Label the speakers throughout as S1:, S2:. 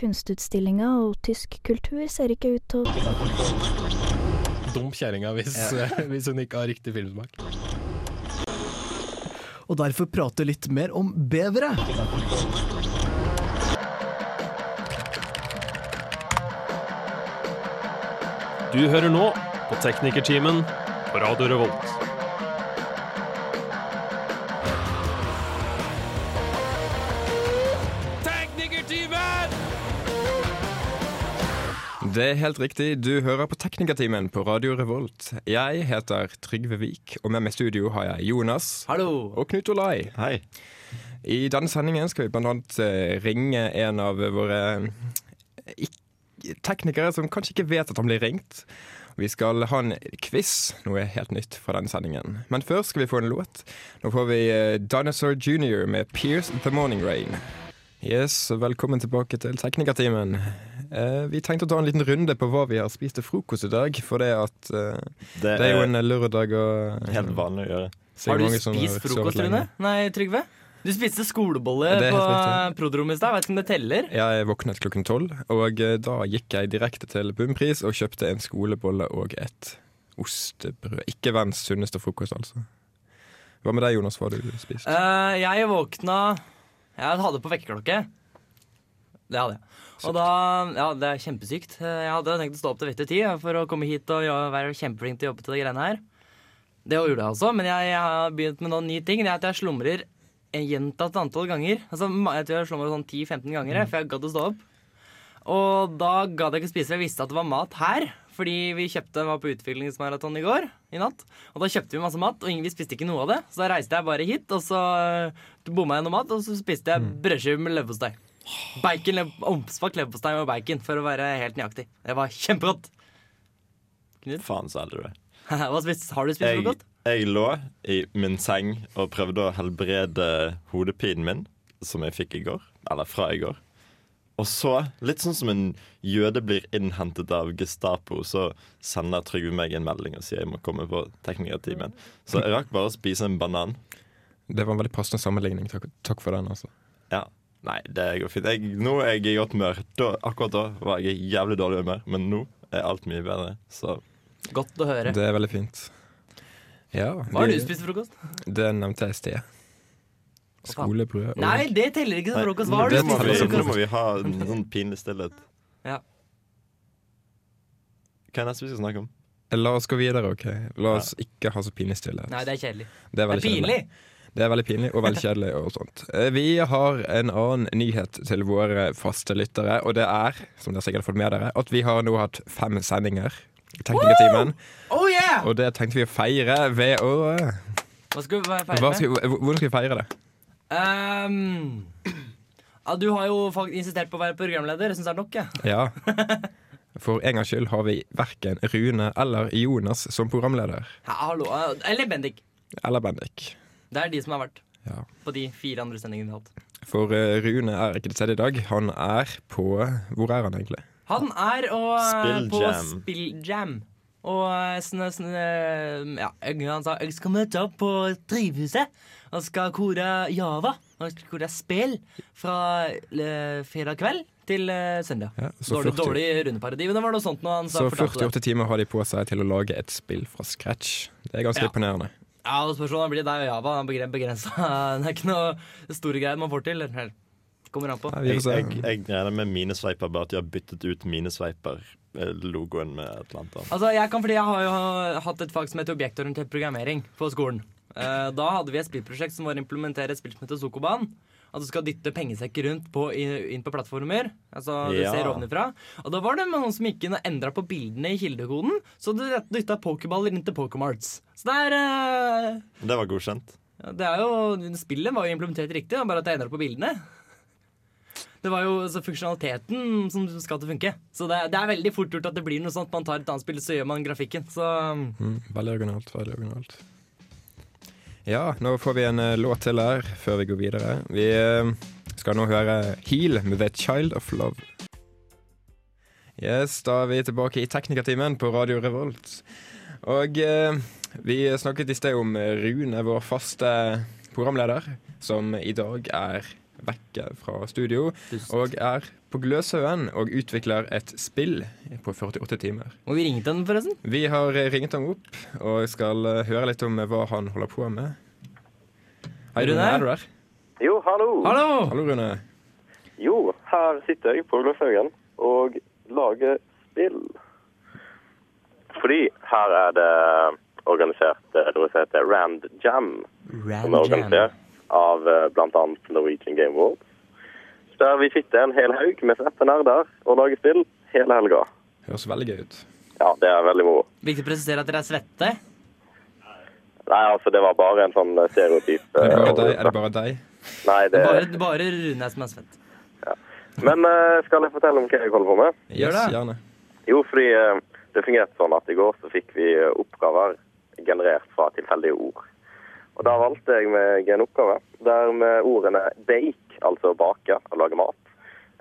S1: Kunstutstillinga og tysk kultur ser ikke ut til å
S2: Dum kjerringa hvis, hvis hun ikke har riktig filmsmak.
S3: og derfor prate litt mer om bevere.
S4: Du hører nå på Teknikertimen på Radio Revolt. Teknikertimen!
S5: Det er helt riktig. Du hører på Teknikertimen på Radio Revolt. Jeg heter Trygve Vik, og med meg i studio har jeg Jonas
S6: Hallo!
S5: og Knut Olai.
S6: Hei.
S5: I denne sendingen skal vi blant annet eh, ringe en av våre eh, ikk- teknikere som kanskje ikke vet at han blir ringt. Vi skal ha en quiz, noe helt nytt fra denne sendingen. Men først skal vi få en låt. Nå får vi eh, Dinosaur Junior med 'Pierce The Morning Rain'. Yes, Velkommen tilbake til teknikertimen. Eh, vi tenkte å ta en liten runde på hva vi har spist til frokost i dag. For det, at, eh,
S6: Det
S5: det er jo en lørdag og eh,
S6: helt vanlig å gjøre.
S5: så
S7: Har du
S5: mange som
S7: spist
S5: sovet
S7: frokost,
S5: lenge.
S7: Rune? Nei, Trygve? Du spiste skolebolle
S5: Det er
S7: på
S5: helt
S7: Prodrom i stad. Vet ikke om det teller.
S5: Jeg våknet klokken tolv, og eh, da gikk jeg direkte til Bunnpris og kjøpte en skolebolle og et ostebrød. Ikke verdens sunneste frokost, altså. Hva med deg, Jonas? Hva har du spist?
S7: Eh, jeg våkna Jeg hadde på vekkerklokke. Det hadde jeg. Og da, ja, Det er kjempesykt. Eh, Jeg hadde tenkt å stå opp til vettet ti ja, for å komme hit og gjøre- være kjempeflink til å jobbe til de greiene her. Det gjorde jeg også, men jeg, jeg har begynt med noen nye ting. Det er at jeg slumrer en gjentatt antall ganger. Altså, ma- Jeg tror jeg slumrer sånn 10-15 ganger jeg, for jeg gadd å stå opp. Og da gadd jeg ikke spise, for jeg visste at det var mat her. Fordi vi kjøpte, var på utviklingsmaraton i går, i natt. Og da kjøpte vi masse mat, og ingen, vi spiste ikke noe av det. Så da reiste jeg bare hit, og så eh, bomma jeg noe mat, og så spiste
S5: Mm.
S7: jeg brødskive med leverpostei. Bacon, lev- Omspakt leverpostei og bacon, for å være helt nøyaktig. Det var kjempegodt.
S6: Faen, så heldig du er.
S7: Hva spist, har du spist
S6: Jeg,
S7: frokost?
S6: jeg lå i min seng og prøvde å helbrede hodepinen min, som jeg fikk i går. Eller fra i går. Og så, litt sånn som en jøde blir innhentet av Gestapo, så sender Trygve meg en melding og sier jeg må komme på teknikertimen. Så jeg rakk bare å spise en banan.
S5: Det var en veldig passende sammenligning. Takk, takk for den, altså.
S6: Ja. Nei, det går fint. Jeg, nå er jeg i godt humør. Da, akkurat da var jeg i jævlig dårlig humør, men nå er alt mye bedre. Så
S7: Godt å høre.
S5: Det er veldig fint. Ja,
S7: Hva har
S5: vi-
S7: du spist til frokost?
S5: Det nevnte jeg i sted.
S7: faen.
S5: Skolebrød og
S7: Nei, det teller ikke som frokost. Hva har du
S6: Nei,
S5: det
S6: nå,
S7: spist
S6: må
S7: til
S6: vi,
S5: som
S7: frokost?
S6: nå må vi ha en sånn pinlig stillhet.
S7: Ja.
S6: Hva er det neste vi skal snakke om?
S5: Eh, La oss gå videre, OK? La oss ikke ha så pinlig stillhet.
S7: Nei, det er
S5: Det
S7: kjedelig.
S5: er
S7: Det er
S5: veldig kjedelig.
S7: pinlig.
S5: Det er veldig pinlig og veldig kjedelig og sånt. Eh, Vi har en annen nyhet til våre faste lyttere, og det er, som dere sikkert har fått med dere, at vi har nå hatt fem sendinger i Teknikertimen.
S7: Oh yeah!
S5: Og det tenkte vi å feire ved å eh,
S7: Hva skal vi feire
S5: hva
S7: med?
S5: skal, vi- eh, Hvordan skal vi feire det?
S7: Ehm, ja, du har jo faktisk insistert på å være programleder. Jeg syns det er nok. jeg.
S5: Ja. For en gangs skyld har vi verken Rune eller Jonas som programleder.
S7: Ja, hallo. eh, Eller Bendik.
S5: Eller Bendik.
S7: Det er de som har vært
S5: Ja.
S7: på de fire andre sendingene vi har hatt.
S5: For eh, Rune er ikke til stede i dag. Han er på Hvor er han egentlig?
S7: Han er og, eh, på
S6: Spilljam.
S7: Spilljam. Og eh, sånne, sånne eh, Ja, jeg- han sa jeg skal møte opp på drivhuset og skal kore Java. Og skal kore spill fra eh, fredag kveld til eh, søndag.
S5: Ja, så 40
S7: dårlig, dårlig rundeparodi. Men det var noe sånt når han sa
S5: Så
S7: fortalte
S5: 48
S7: det.
S5: timer har de på seg til å lage et spill fra scratch. Det er ganske
S7: Ja.
S5: imponerende.
S7: Ja, og spørsmålet blir deg og Java. Den er begrensa. Det er ikke noe store greier man får til. Eller kommer an på.
S5: Ja, vi
S6: Jeg,
S5: får se.
S6: jeg, jeg regner med minesveiper, bare at de har byttet ut minesveiper-logoen med et eller annet. annet.
S7: Altså, jeg kan fordi jeg har jo hatt et fag som heter objektorientert programmering på skolen. Eh, da hadde vi et spillprosjekt som var å implementere et spill som heter Sokoban. At du skal dytte pengesekker rundt på, i- inn på plattformer. Altså, du
S6: Ja.
S7: ser ovenifra. Og da var det noen som gikk inn og endra på bildene i kildekoden. Så du dytta pokerballer inn til Pokermarts. Så det er eh,
S6: Det var godkjent.
S7: Ja, Det er jo, Spillet var jo implementert riktig, da, bare at jeg endra på bildene. Det var jo altså, funksjonaliteten som skal til å funke. Så det, er- det er veldig fort gjort at det blir noe sånt. Man tar et annet spill, så gjør man grafikken. Så
S5: Mm, veldig originalt. veldig originalt. Ja, nå får vi en eh, låt til her før vi går videre. Vi eh, skal nå høre Heal med The Child of Love. Yes, da er vi tilbake i teknikertimen på Radio Revolt. Og eh, vi snakket i sted om Rune, vår faste programleder, som i dag er vekk fra studio
S7: Tusen.
S5: og er på Gløshaugen og utvikler et spill på 48 timer.
S7: Må vi ringe til den, forresten?
S5: Vi har ringt ham opp og skal eh, høre litt om hva han holder på med. Hei,
S7: Rune?
S5: Rune. Er du der?
S8: Jo, hallo.
S7: Hallo!
S5: Hallo, Rune.
S8: Jo, her sitter jeg på Gløshaugen og lager spill. Fordi her er det organisert eh, noe som heter Rand Jam, som er organisert av eh, blant annet Norwegian Game World. Der vi sitter en hel haug med fette nerder og lager spill hele helga.
S5: Høres veldig gøy ut.
S8: Ja, det er veldig moro.
S7: Viktig å presisere at dere er svette.
S8: Nei, altså, det var bare en sånn eh, stereotyp.
S5: Er det bare
S8: eh,
S5: deg? Er det bare deg?
S8: Nei, det...
S7: Bare, bare Rune som er svett.
S8: Men eh, skal jeg fortelle om hva jeg holder på med?
S7: Gjør
S5: Yes,
S7: det.
S5: gjerne.
S8: Jo, fordi eh, det fungerte sånn at i går så fikk vi eh, oppgaver generert fra tilfeldige ord. Og da valgte jeg meg en oppgave der med ordene bake, altså bake, å lage mat,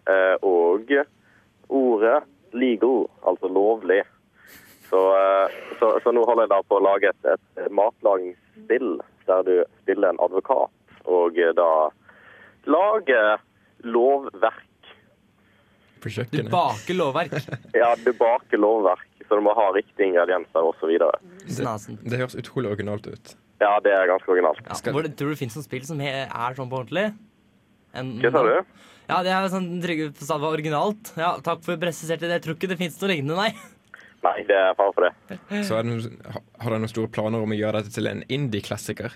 S8: eh, og ordet legal, altså lovlig. Så, eh, så, så nå holder jeg da på å lage et, et matlagingsspill der du spiller en advokat og eh, da lager lovverk
S5: På
S7: Du
S5: kjøkkenet.
S7: baker lovverk.
S8: Ja, du baker lovverk, så du må ha riktige ingredienser osv.
S7: Snasen.
S5: Det høres utrolig originalt ut.
S8: Ja, det er ganske originalt.
S7: Ja,
S5: Skal-
S7: hvor, tror du det finnes noen spill som he- er sånn på ordentlig? En-
S8: Hva sa du?
S7: Ja, det er sånn Trygve sa det var originalt. Ja, takk for presiserte det. Jeg tror ikke det finnes noe lignende, nei.
S8: Nei, det er fare for det.
S5: Så er det noen, ha- har dere noen store planer om å gjøre dette til en indie-klassiker?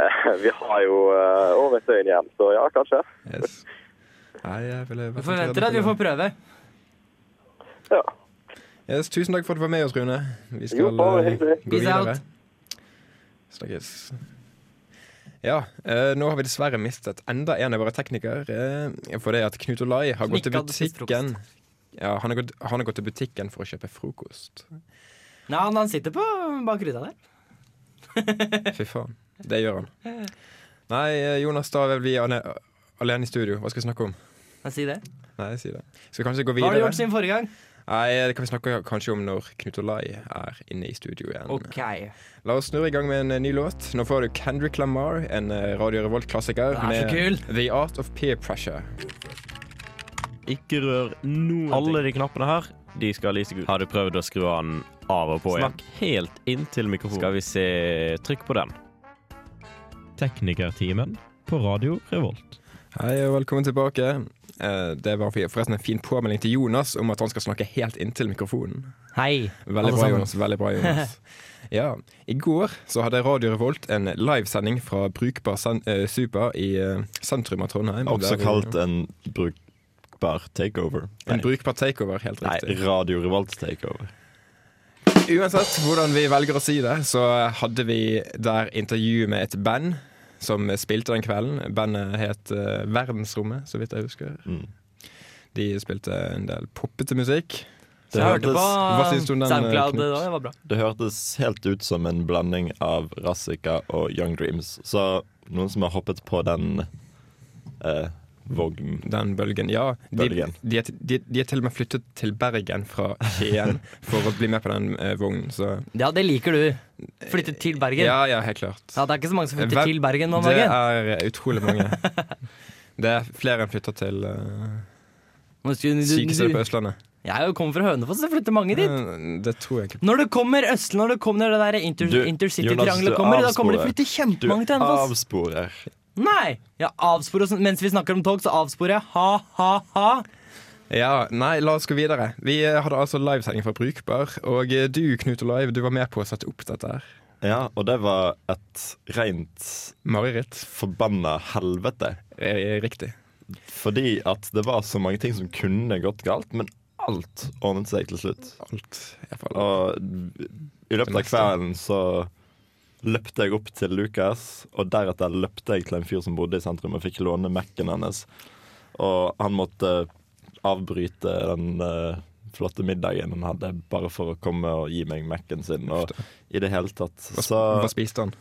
S8: Eh, Vi har jo uh, over søyen igjen, så ja, kanskje.
S5: Yes. Nei, jeg ville
S7: Vi forventer at vi får prøve.
S8: Ja.
S5: Yes, tusen takk for at du var med oss, Rune. Vi skal
S8: Jo, bare
S5: eh,
S8: hyggelig.
S5: gå
S7: Peace
S5: videre.
S7: out.
S5: Snakkes. Ja, eh, nå har vi dessverre mistet enda en av våre teknikere. Uh, Fordi at Knut Olai har
S7: Som
S5: gått til
S7: ikke hadde spist
S5: butikken Ja, han har, gått, han har gått til butikken for å kjøpe frokost.
S7: Ja, men han sitter på bak ruta der.
S5: Fy faen. Det gjør han. Nei, eh, Jonas, da er vi ane- alene i studio. Hva skal vi snakke om?
S7: Jeg sier det.
S5: Nei, si det. Skal vi kanskje gå
S7: Hva har du
S5: videre?
S7: gjort siden forrige gang?
S5: Nei, det kan vi snakke kanskje om når Knut Olai er inne i studio igjen.
S7: OK.
S5: La oss snurre i gang med en eh, ny låt. Nå får du Kendrick Lamar, en eh, Radio Revolt-klassiker
S7: Det er så kul.
S5: The Art of Peer Pressure.
S9: Ikke rør noen
S4: Alle de knappene her
S9: De skal lyse gult.
S4: har du prøvd å skru den av og på igjen.
S9: Snakk helt inntil mikrofonen.
S4: Skal vi se Trykk på den.
S9: Teknikertimen på Radio Revolt.
S5: Hei og velkommen tilbake. Eh, Det var forresten en fin påmelding til Jonas om at han skal snakke helt inntil mikrofonen.
S7: Hei.
S5: Veldig
S7: alle
S5: bra,
S7: sammen.
S5: Jonas. Veldig bra, Jonas. Ja. I går så hadde Radio Revolt en livesending fra Brukbar sen eh, Super i eh, sentrum av Trondheim.
S6: Også
S5: Der-
S6: kalt en brukbar takeover.
S5: En brukbar takeover, helt
S6: Nei,
S5: riktig.
S6: Radio Revolts takeover.
S5: Uansett hvordan vi velger å si det, så hadde vi der intervju med et band som spilte den kvelden. Bandet het eh, Verdensrommet, så vidt jeg husker.
S6: Mm.
S5: De spilte en del poppete musikk.
S7: Så jeg hørte på
S5: Hva syns du om den,
S7: SoundCloud
S5: Knut?
S7: da. Det var bra.
S6: Det hørtes helt ut som en blanding av Rassica og Young Dreams. Så noen som har hoppet på den eh, vognen.
S5: Den bølgen, ja. De,
S6: Bølgen.
S5: de, er- de, de er til og med flyttet til Bergen fra Skien for å bli med på den eh, vognen, så
S7: Ja, det liker du. Flytte til Bergen. Ja.
S5: Ja, ja, helt klart.
S7: det er ikke så mange som flytter
S5: Hvem-
S7: til Bergen nå om
S5: Det
S7: dagen.
S5: er utrolig mange. Det er flere enn flytter til uh,
S7: Nå skulle du-
S5: sykestedet på
S7: du-
S5: Østlandet.
S7: Jeg kommer fra Hønefoss, så flytter mange dit.
S5: Eh, Det tror jeg ikke.
S7: Når det kommer Østland, når det kommer når det der inter,
S6: Du, Jonas,
S7: intercity-triangelet
S6: du
S7: kommer, da kommer det
S6: avsporer.
S7: flytte
S6: Du
S7: kjempemange til Hønefoss.
S6: avsporer.
S7: Nei! Ja, avspor og sånn. Mens vi snakker om tog, så avsporer jeg. Ha, ha, ha.
S5: Ja, nei, la oss gå videre. Vi eh, hadde altså livesending fra Brukbar, og eh, du, Knut Olav, du var med på å sette opp dette her.
S6: Ja, og det var et rent
S5: Mareritt.
S6: forbanna helvete.
S5: Eh, Riktig.
S6: Fordi at det var så mange ting som kunne gått galt, men alt ordnet seg til slutt.
S5: Alt. i hvert fall.
S6: Og i løpet av kvelden så løpte jeg opp til Lukas, og deretter løpte jeg til en fyr som bodde i sentrum og fikk låne Mac-en hennes. Og han måtte avbryte den eh, flotte middagen han hadde, bare for å komme og gi meg Mac-en sin. Og i det hele tatt
S5: Hva,
S6: så
S5: hva spiste han?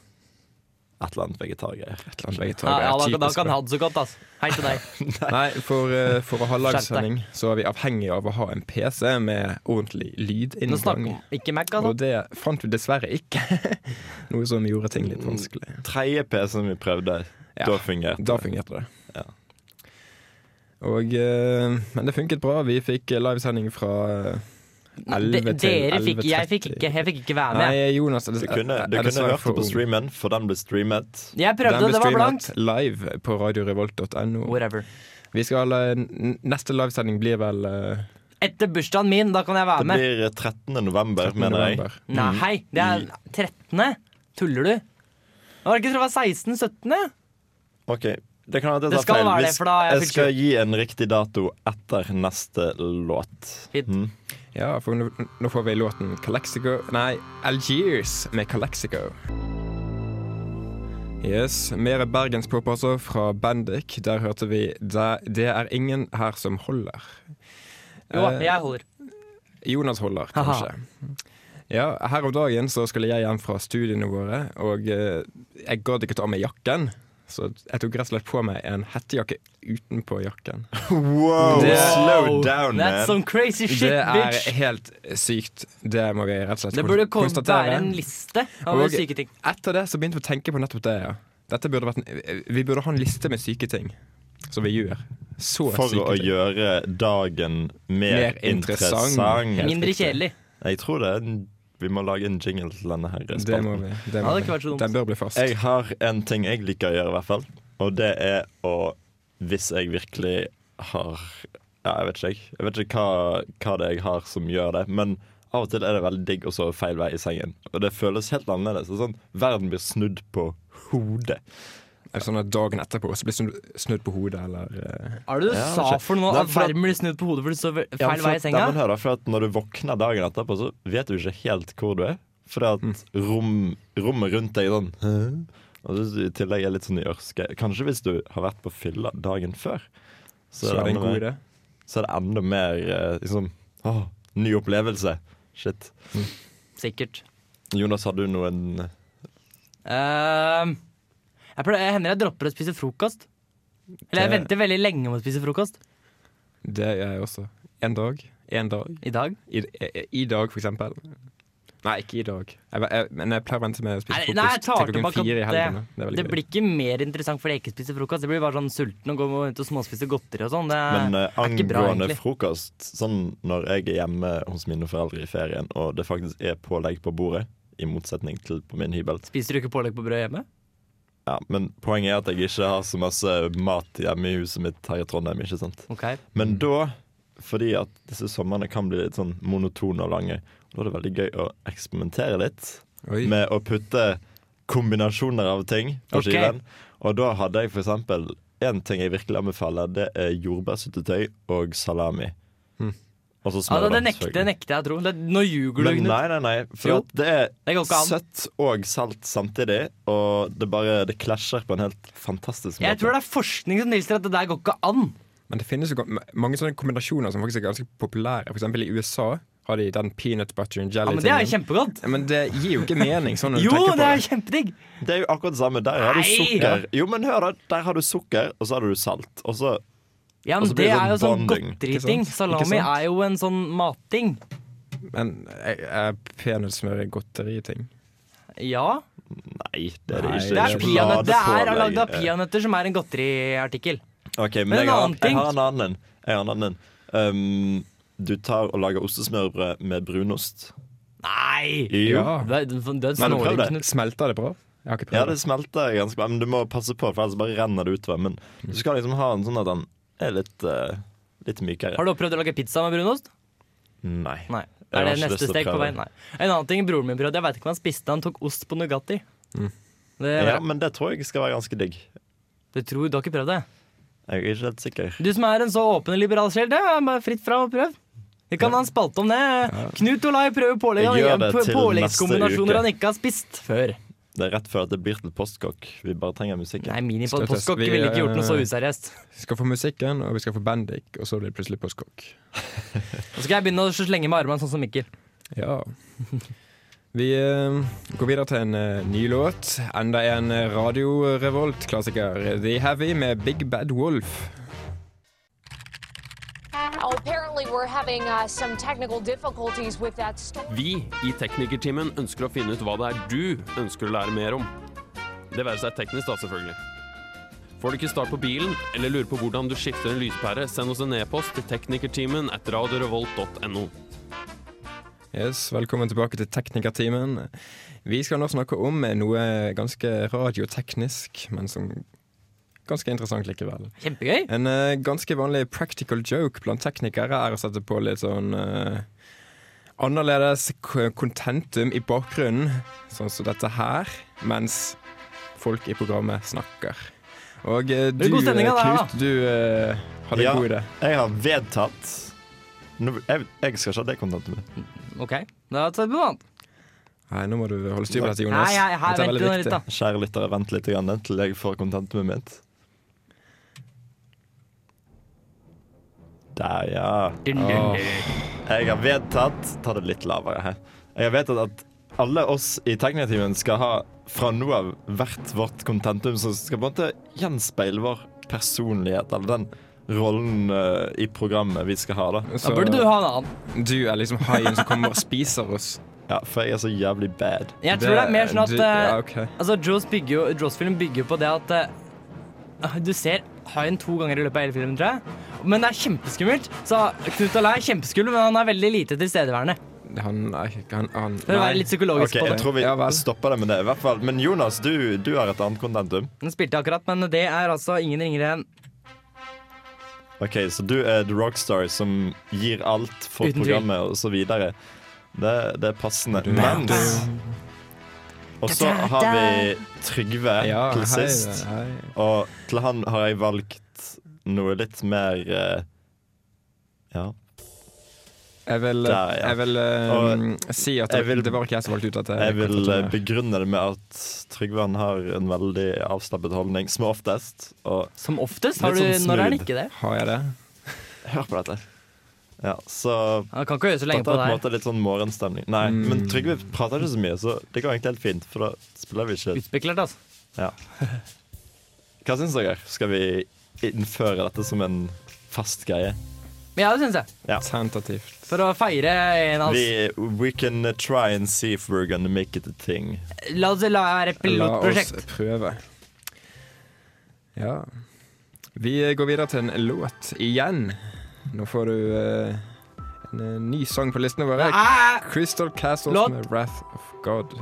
S6: Et eller annet vegetargreier.
S5: Et eller annet
S7: Ja,
S5: vegetargreier.
S7: ja, da, da
S5: Typisk,
S7: kan
S5: da.
S7: han så godt, ass. Hei til deg.
S5: Nei, for, eh, for å ha
S7: Skjerp deg.
S5: livesending så er vi avhengig av å ha en PC med ordentlig
S7: Nå snakker
S5: lydinngang.
S7: vi ikke Mac,
S5: Og
S7: altså.
S5: det fant vi dessverre ikke.
S7: Mm.
S5: Noe som gjorde ting litt vanskelig.
S6: Tredje PC-en vi prøvde,
S5: Ja,
S6: da fungerte
S5: Da fungerte det.
S6: Ja.
S5: Og, eh, men det funket bra. Vi fikk livesending fra eh, 11 til
S7: dere fikk, jeg fikk,
S5: 11.30.
S7: ikke, jeg fikk ikke være med.
S5: Nei, Jonas er
S6: Du
S5: dess-
S6: kunne,
S5: er
S6: du kunne
S5: dessverre
S6: hørt det
S5: for
S6: på
S5: ung.
S6: streamen, for den ble streamet.
S7: Jeg
S5: Den
S7: prøvde,
S5: blir
S7: det var
S5: streamet
S7: blankt.
S5: Live på radiorevolt.no.
S7: Whatever.
S5: Vi skal, eh, n- neste livesending blir vel eh,
S7: Etter bursdagen min, da kan jeg være
S6: Det
S7: med.
S6: blir 13. november,
S5: 13.
S6: mener jeg.
S5: november.
S7: Nei, det er 13. Tuller du? Var det ikke tror jeg var 16-17?
S6: Ok, Det kan være at jeg
S7: Det
S6: tar
S7: skal
S6: feil.
S7: være det,
S6: Hvis-
S7: for da har jeg
S6: jeg
S7: fylt
S6: skal gi en riktig dato etter neste låt.
S7: Fint.
S6: Mm.
S5: Ja, for nå, nå får vi låten Calexico Nei, Algiers med Calexico. Yes, mer bergenspop altså, fra Bendik. Der hørte vi det, 'Det er ingen her som holder'.
S7: Jo,
S5: Eh,
S7: jeg holder.
S5: Jonas holder,
S7: Haha.
S5: kanskje. Ja, her om dagen så skulle jeg hjem fra studiene våre, og eh, jeg gadd ikke ta av meg jakken. Så jeg tok rett og slett på meg en hettejakke utenpå jakken.
S6: Wow,
S5: Det-
S6: oh, slow down,
S7: That's
S6: man.
S7: some crazy shit,
S5: det er
S7: bitch.
S5: helt sykt. Det må vi rett og slett
S7: Det burde
S5: kon-
S7: komme- være en liste av
S5: Og-
S7: syke ting.
S5: Etter det så begynte vi å tenke på nettopp det. Ja. Dette burde vært en, vi burde ha en liste med syke ting som vi gjør. Så
S6: For
S5: syke
S6: å
S5: ting.
S6: gjøre dagen mer,
S5: Mer interessant.
S6: interessant.
S7: Mindre
S5: riktig.
S7: kjedelig.
S6: Jeg tror det er en, Vi må lage en jingle til denne her.
S5: Det må
S6: spalten.
S5: vi. Det
S7: Ja,
S5: må
S7: det kunne vært så
S5: vi.
S7: dumt.
S5: Den bør bli fast.
S6: Jeg har en ting jeg liker å gjøre, i hvert fall. Og det er å Hvis jeg virkelig har Ja, jeg vet ikke, jeg. Jeg vet ikke hva, hva det er jeg har som gjør det. Men av og til er det veldig digg å sove feil vei i sengen. Og det føles helt annerledes. Det er Sånn, verden blir snudd på hodet.
S5: Er det sånn at dagen etterpå så blir snu- snudd på hodet, eller eh,
S7: Hva er det du
S6: Ja,
S7: sa
S6: shit.
S7: for noe?
S6: Nei,
S7: At
S6: for at-
S7: verden blir snudd på hodet fordi du sover feil
S6: Ja, for
S7: vei
S6: at-
S7: i senga?
S6: Nei, men hør da, for at når du våkner dagen etterpå, så vet du ikke helt hvor du er. For at
S7: Mm.
S6: rom, rommet rundt deg er sånn «Hæ?» Og så i tillegg er litt sånn i ørske. Kanskje hvis du har vært på fylla dagen før.
S5: Så er det en
S6: enda mer-
S5: god idé?
S6: så er det enda mer eh, liksom, åh, ny opplevelse. Shit.
S7: Sikkert.
S6: Jonas, har du noen
S7: Ehm, jeg pleier, jeg hender jeg dropper å spise frokost. Eller jeg
S5: Det-
S7: venter veldig lenge med å spise frokost.
S5: Det gjør jeg også. En dag. En dag.
S7: I dag.
S5: I, i, I dag, for eksempel. Nei, ikke i dag. Jeg, jeg, men jeg pleier å vente med å spise
S7: Nei, nei, jeg
S5: frokost
S7: tar
S5: til klokken
S7: tilbake at
S5: fire i helgene. Det er veldig
S7: Det
S5: gøy.
S7: blir ikke mer interessant fordi jeg ikke spiser frokost. Det blir bare sånn sulten og gå rundt og småspise godteri og sånn. Det
S6: Men eh,
S7: er ikke bra,
S6: angående
S7: egentlig.
S6: frokost, sånn når jeg er hjemme hos mine foreldre i ferien, og det faktisk er pålegg på bordet, i motsetning til på min hybel
S7: Spiser du ikke pålegg på brød hjemme?
S6: ja, Men poenget er at jeg ikke har så masse mat hjemme i huset mitt her i Trondheim. ikke sant?
S7: Ok.
S6: Men
S7: Mm.
S6: da, fordi at disse somrene kan bli litt sånn monotone og lange, da er det veldig gøy å eksperimentere litt.
S5: Oi.
S6: med å putte kombinasjoner av ting på
S7: Ok.
S6: skiven. Og da hadde jeg for eksempel én ting jeg virkelig anbefaler, det er jordbærsyltetøy og salami. Og så
S7: Hm. Ja,
S6: smør,
S7: det, det,
S6: da,
S7: nekter, det
S6: selvfølgelig.
S7: nekter jeg å tro. Det, nå ljuger du,
S6: Men
S7: Knut.
S6: nei, nei, nei.
S7: Jo.
S6: For at det er
S7: Det går ikke an.
S6: søtt og salt samtidig, og det bare det klasjer på en helt fantastisk måte.
S7: Jeg tror det er forskning som tilsier at det der går ikke an.
S5: Men det finnes jo ga- ma- mange sånne kombinasjoner som faktisk er ganske populære. For eksempel i USA har de den peanut butter and
S7: Ja,
S5: jelly
S7: Men det er jo kjempegodt.
S5: Ja, men det gir jo ikke mening, sånn når du
S7: Jo,
S5: tenker på
S7: det
S5: det.
S7: er kjempedigg.
S6: Det er jo akkurat det samme. Der har du
S7: Nei!
S6: sukker. Jo, men hør da, Der har du sukker, og så har du salt. Og så
S7: Ja,
S6: Og
S7: men
S6: så blir
S7: det
S6: det
S7: er jo
S6: sånn
S7: sånn
S6: bonding,
S7: godteriting.
S5: ikke sant? Ikke
S7: Salami
S5: sant?
S7: er jo en sånn matting.
S5: Men er- er peanøttsmør en godteriting?
S7: Ja.
S6: Nei, det er det
S5: Nei,
S6: ikke.
S5: det
S7: Det er
S5: er
S7: peanøtt- det er
S6: Sjokoladepålegg.
S7: lagd av peanøtter, som er en godteriartikkel.
S6: Ok, men,
S7: Men en
S6: jeg, har,
S7: annen
S6: jeg
S7: ting-
S6: har en annen en. Jeg har en annen en. Um, du tar og lager ostesmørbrød med brunost.
S7: Nei!
S6: Jo. Ja.
S7: Det er den- den
S6: Men prøv
S7: snåler,
S6: det.
S7: Knut.
S5: Smelter det bra? Jeg har ikke prøvd
S6: det smelter ganske bra, men du må passe på, for ellers bare renner det utover. Men du skal liksom ha en sånn at den er litt, eh, litt mykere.
S7: Har du opprøvd å lage pizza med brunost?
S6: Nei.
S7: Nei.
S6: Jeg
S7: Er
S6: har
S7: det
S6: ikke lyst
S7: neste
S6: til å
S7: steg på
S6: prøve.
S7: veien? Nei. En annen ting broren min prøvde, jeg veit ikke hva han spiste, han tok ost på Nugatti. Det,
S6: Mm. Ja, men det tror jeg skal være ganske digg.
S7: det tror du har ikke prøvd det?
S6: Jeg er ikke helt sikker.
S7: Du som er en så åpen og liberal sjel, det er bare fritt fra å prøve. Vi kan ha en spalte om det. Knut Olai prøver pålegg
S6: Jeg gjør
S7: han-
S6: det til neste uke.
S7: påleggskombinasjoner han ikke har spist før.
S6: Det er rett før at det blir til postkokk. Vi bare trenger musikken.
S7: Nei,
S5: Støttes.
S7: mini-postkokk
S5: Vi,
S7: ville ikke gjort noe så
S5: eh,
S7: useriøst.
S5: Vi skal få musikken, og vi skal få Bendik, og så blir det plutselig postkokk.
S7: Nå skal jeg begynne å slenge med armene sånn som Mikkel.
S5: Ja. Vi eh, går videre til en eh, ny låt. Enda en eh, Radio Revolt-klassiker. The Heavy med Big Bad Wolf.
S10: Oh, apparently, we're having uh, some technical difficulties with that storm.
S4: Vi i Teknikertimen ønsker å finne ut hva det er du ønsker å lære mer om. Det være seg teknisk, da, selvfølgelig. Får du ikke start på bilen, eller lurer på hvordan du skifter en lyspære, send oss en e-post til teknikerteamen at radiorevolt.no.
S5: Yes, Velkommen tilbake til teknikertimen. Vi skal nå snakke om noe ganske radioteknisk, men som ganske interessant likevel.
S7: Kjempegøy.
S5: En eh, ganske vanlig practical joke blant teknikere er å sette på litt sånn eh, annerledes k- contentum i bakgrunnen, sånn som dette her, mens folk i programmet snakker. Og eh,
S7: er
S5: du,
S7: god stemning,
S5: eh,
S7: da, da.
S5: Knut, du eh, hadde
S6: Ja.
S5: en god idé.
S6: Jeg har vedtatt Nå, jeg, jeg skal ikke ha det kontentet mitt.
S7: Ok, da tar vi på noe annet.
S5: Nei, nå må du holde styr på dette,
S7: Nei,
S5: Jonas.
S7: jeg, her,
S5: dette er
S7: vent
S5: veldig
S7: nå litt,
S5: viktig.
S7: da.
S6: Kjære lyttere, vent litt grann til jeg får kontentet mitt. Der, ja.
S7: Dun, dun, dun.
S6: Jeg har vedtatt Ta det litt lavere her. Jeg har vedtatt at alle oss i teknikerteamen skal ha fra nå av hvert vårt kontentum som skal på en måte gjenspeile vår personlighet, eller den rollen eh, i programmet vi skal ha, da.
S5: Så
S7: Da burde du ha en annen.
S5: du er liksom haien som kommer og spiser oss.
S6: Ja, for jeg er så jævlig bad.
S7: Jeg tror det er mer sånn at
S5: du-
S7: eh,
S5: ja, ok.
S7: Altså, Jaws bygger jo, Jaws-filmen bygger jo på det at eh, du ser haien to ganger i løpet av hele filmen, tror jeg. Men det er kjempeskummelt. Så Knut Alai er kjempeskummel, men han er veldig lite tilstedeværende.
S5: Han er ikke han, han,
S7: For å
S5: nei.
S7: være litt psykologisk
S6: Ok,
S7: på
S6: jeg
S7: det.
S6: tror vi
S5: Ja vel.
S6: stopper det med det, i hvert fall. Men Jonas, du, du har et annet kontentum.
S7: Den spilte akkurat, men det er altså ingen ringere enn
S6: Ok, så du er the rockstar som gir alt for
S7: Uten tvil.
S6: programmet og så videre. Det, det er passende. Mens Og så har vi Trygve
S5: Ja,
S6: til
S5: hei,
S6: sist.
S5: hei.
S6: Og til han har jeg valgt noe litt mer eh, Ja.
S5: Jeg vil,
S6: Der, ja.
S5: jeg vil eh, si at
S6: jeg vil-
S5: det var ikke jeg som valgte ut dette.
S6: Jeg vil eh,
S5: kontentumet.
S6: begrunne det med at Trygve han har en veldig avslappet holdning, som oftest. Og
S7: som oftest. Har du,
S6: Litt sånn
S7: når er
S6: smooth.
S7: det ikke det?
S5: Har jeg det?
S6: hør på dette. Ja, så
S7: Han kan ikke høre så
S6: dette
S7: lenge
S6: er på
S7: på det
S6: en
S7: her.
S6: måte litt sånn morgenstemning. Nei, men Trygve prater ikke så mye, så det går egentlig helt fint, for da spiller vi ikke
S7: Utspekulert, altså.
S6: Ja. Hva syns dere? Skal vi innføre dette som en fast greie?
S7: Ja, det syns jeg.
S5: Tentativt.
S7: For å feire en av oss.
S6: Vi, we can try and see if we're gonna make it a thing.
S7: La oss la være et
S5: La oss
S7: pilotprosjekt.
S5: prøve. Ja. Vi går videre til en låt igjen. Nå får du eh, en eh, ny sang på listene våre.
S7: Ah!
S5: Crystal Castles
S7: Låt.
S5: med Wrath of God.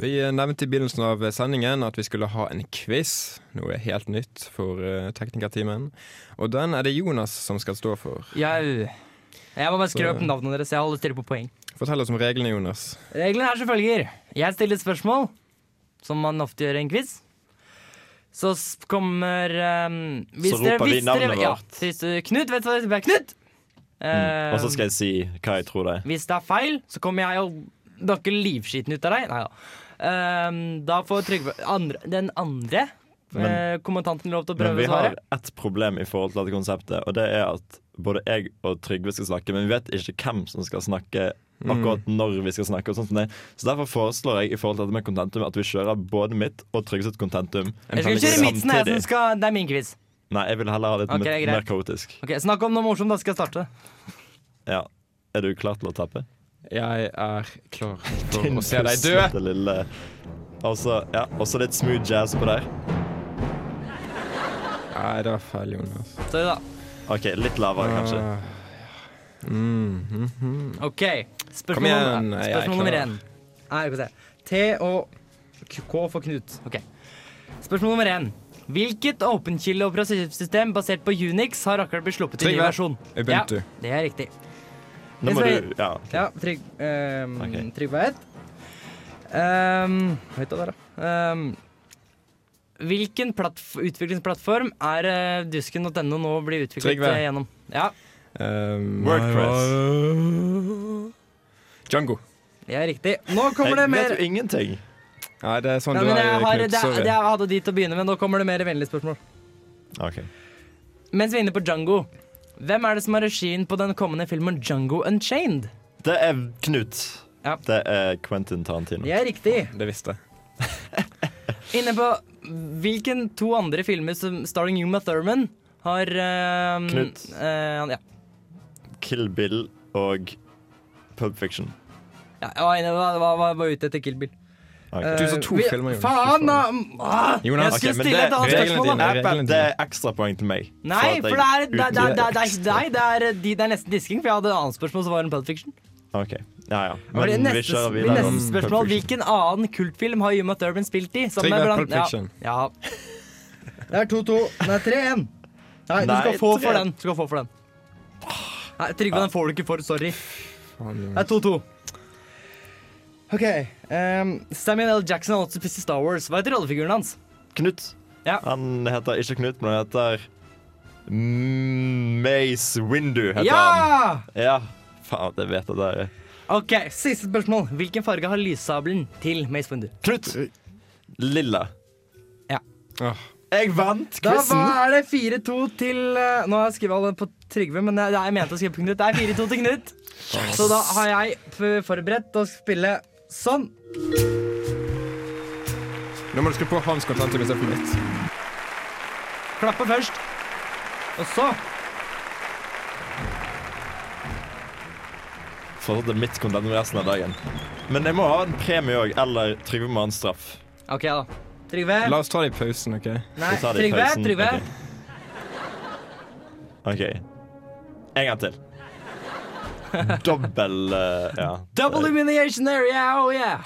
S5: Vi eh, nevnte i begynnelsen av sendingen at vi skulle ha en quiz. Noe helt nytt for eh, teknikertimen. Og den er det Jonas som skal stå for.
S7: Jau. Jeg må bare
S5: Så-
S7: skrive opp navnene deres. Jeg holder stille på poeng.
S5: Fortell oss om reglene, Jonas.
S7: Reglene er som følger. Jeg stiller et spørsmål, som man ofte gjør i en quiz. Så s- kommer um, hvis
S6: Så
S7: dere-
S6: roper vi
S7: hvis
S6: navnet
S7: dere- ja,
S6: vårt. Mm.
S7: hvis du- Knut, vet du hva det er? Knut! Ehm,
S6: Og så skal jeg si hva jeg tror det er.
S7: Hvis det er feil, så kommer jeg og dakker livskiten ut av deg. Nei da. Ehm, da får Trygve andre, den andre
S6: Men-
S7: eh, kommentanten lov til å
S6: Men
S7: prøve
S6: vi
S7: å svare.
S6: har ett problem i forhold til dette konseptet, og det er at både jeg og Trygve skal snakke, men vi vet ikke hvem som skal snakke
S7: Mm.
S6: akkurat når vi skal snakke. og sånt som det. Så derfor foreslår jeg i forhold til dette med kontentum at vi kjører både mitt og Trygve sitt kontentum.
S7: Jeg skal kjøre sånn
S6: samtidig.
S7: midtsen, jeg, som skal, det er min quiz.
S6: Nei, jeg vil heller ha litt
S7: Ok, greit.
S6: mer kaotisk.
S7: Ok, Snakk om noe morsomt, da skal jeg starte.
S6: Ja. Er du klar til å tappe?
S5: Jeg er klar for å se deg dø.
S6: puslete lille- Og så ja, og så litt smooth jazz på der.
S5: Nei, det var feil, Jonas.
S7: Sorry, da.
S6: OK, litt lavere, kanskje.
S5: Ah,
S7: Ok,
S5: Kom
S7: spørsmål,
S5: igjen,
S7: nummer-
S5: jeg er
S7: spørsmål nummer
S5: klar.
S7: én. Nei, vi får se. T og K K for Knut. Ok. Spørsmål nummer én. Hvilket åpenkilde- og operativsystem basert på Unix har akkurat blitt sluppet i ny
S5: Trygve.
S7: versjon?
S5: Ubuntu.
S7: Ja, det er riktig.
S6: Nå må
S7: Jeg skal-
S6: du Ja. ok.
S7: Ja, trygg, ehm,
S6: Ok.
S7: Trygve er ett. Ehm, hva heter det der, da? Ehm, hvilken plattf- utviklingsplattform er eh, dusken.no nå blir utviklet
S5: Trygve.
S7: eh, gjennom? Ja,
S5: um,
S6: Wordpress.
S5: Django.
S7: det er riktig. Nå
S6: Jeg
S7: kommer det mer
S6: vet jo ingenting.
S5: Nei, det er sånn
S7: Nei,
S5: du
S7: men
S5: er,
S7: jeg, har,
S5: Knut.
S7: det,
S5: Sorry.
S7: det, jeg hadde dit å begynne med. Nå kommer det mer vennlige spørsmål.
S6: OK.
S7: Mens vi er inne på Django, hvem er det som har regien på den kommende filmen Django Unchained?
S6: Det er Knut.
S7: Ja.
S6: Det er Quentin Tarantino.
S7: Det er riktig.
S5: Det visste jeg.
S7: Inne på hvilken to andre filmer som starring Uma Thurman har eh,
S6: Knut.
S7: eh, ja.
S6: Kill Bill og Pub Fiction.
S7: ja, jeg var inne, hva, hva, hva var ute etter Kill Bill? Eh,
S5: Du sa to
S7: Vi-
S5: filmer, Jonas.
S7: Faen, da! Ah,
S5: Jonas,
S7: jeg
S5: ok, men
S7: skulle stille
S5: det-
S7: et annet
S5: reglene
S7: spørsmål.
S5: dine
S7: da.
S5: er-
S6: Apple, det er ekstrapoeng til meg.
S7: Nei,
S6: at
S7: for det
S6: jeg
S7: er, det, er- det, er- det, er- det, er-
S6: utelukker
S7: nei, det, er, de- det er nesten disking, for jeg hadde et annet spørsmål som var en Pulp Fiction.
S6: Ok, ja ja.
S7: Og det
S6: Men vi
S7: neste,
S6: kjører
S7: mitt
S6: videre.
S7: neste
S6: om
S7: spørsmål
S6: Pulp Fiction.
S7: Hvilken annen kultfilm har Uma Thurman spilt i? Som
S5: Trygve,
S7: er
S5: Pulp Fiction.
S7: Ja. ja. Det er 2-2. Nei, 3-1. Nei, du skal
S6: Nei,
S7: få for
S6: tre.
S7: den. Du skal få for den. Nei, Trygve, den får du ikke for. Sorry. Det er 2-2. OK. ehm, Samuel L. Jackson har også spilt i Star Wars. Hva heter rollefiguren hans?
S6: Knut.
S7: Ja.
S6: Han heter ikke Knut, men han heter Mace Windu heter han.
S7: Ja!
S6: Ja! Faen, jeg vet at det er
S7: OK, siste spørsmål. Hvilken farge har lyssabelen til Mace Windu?
S6: Knut! Lilla.
S7: Ja.
S5: Åh.
S6: Jeg vant
S7: Da
S6: quizen!
S7: var det 4-2 til eh, Nå har jeg skrevet alle på Trygve, men jeg, jeg mente å skrive på Knut. Det er 4-2 til Knut. Så da har jeg f- forberedt å spille sånn.
S5: Nå må du skru på hans kontent hvis jeg får mitt.
S7: Klappe først. Og så
S6: For det er mitt kontent resten av dagen. Men jeg må ha en premie òg, eller Trygve må ha en straff.
S7: OK, da. Trygve.
S5: La oss ta det i pausen, OK?
S7: Nei,
S6: Vi tar det i
S7: Trygve.
S6: pausen.
S7: Trygve.
S6: OK. En gang til. Dobbel eh, Ja.
S7: Double illumination area, oh yeah!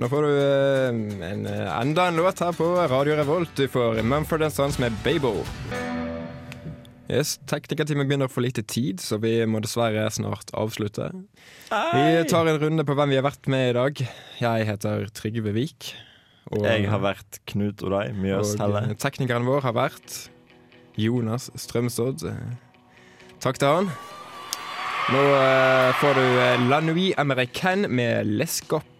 S5: Nå får du eh, en, eh, enda en låt her på Radio Revolt. Du får Mumford Sons med 'Babel'. Yes, Teknikerteamet begynner å få lite tid, så vi må dessverre snart avslutte. Vi tar en runde på hvem vi har vært med i dag. Jeg heter Trygve Vik. Og,
S6: Jeg har vært Knut Odai Mjøs Helle.
S5: og eh, teknikeren vår har vært Jonas Strømsodd. Takk til han. Nå eh, får du eh, La Nuit Americaine med Lescop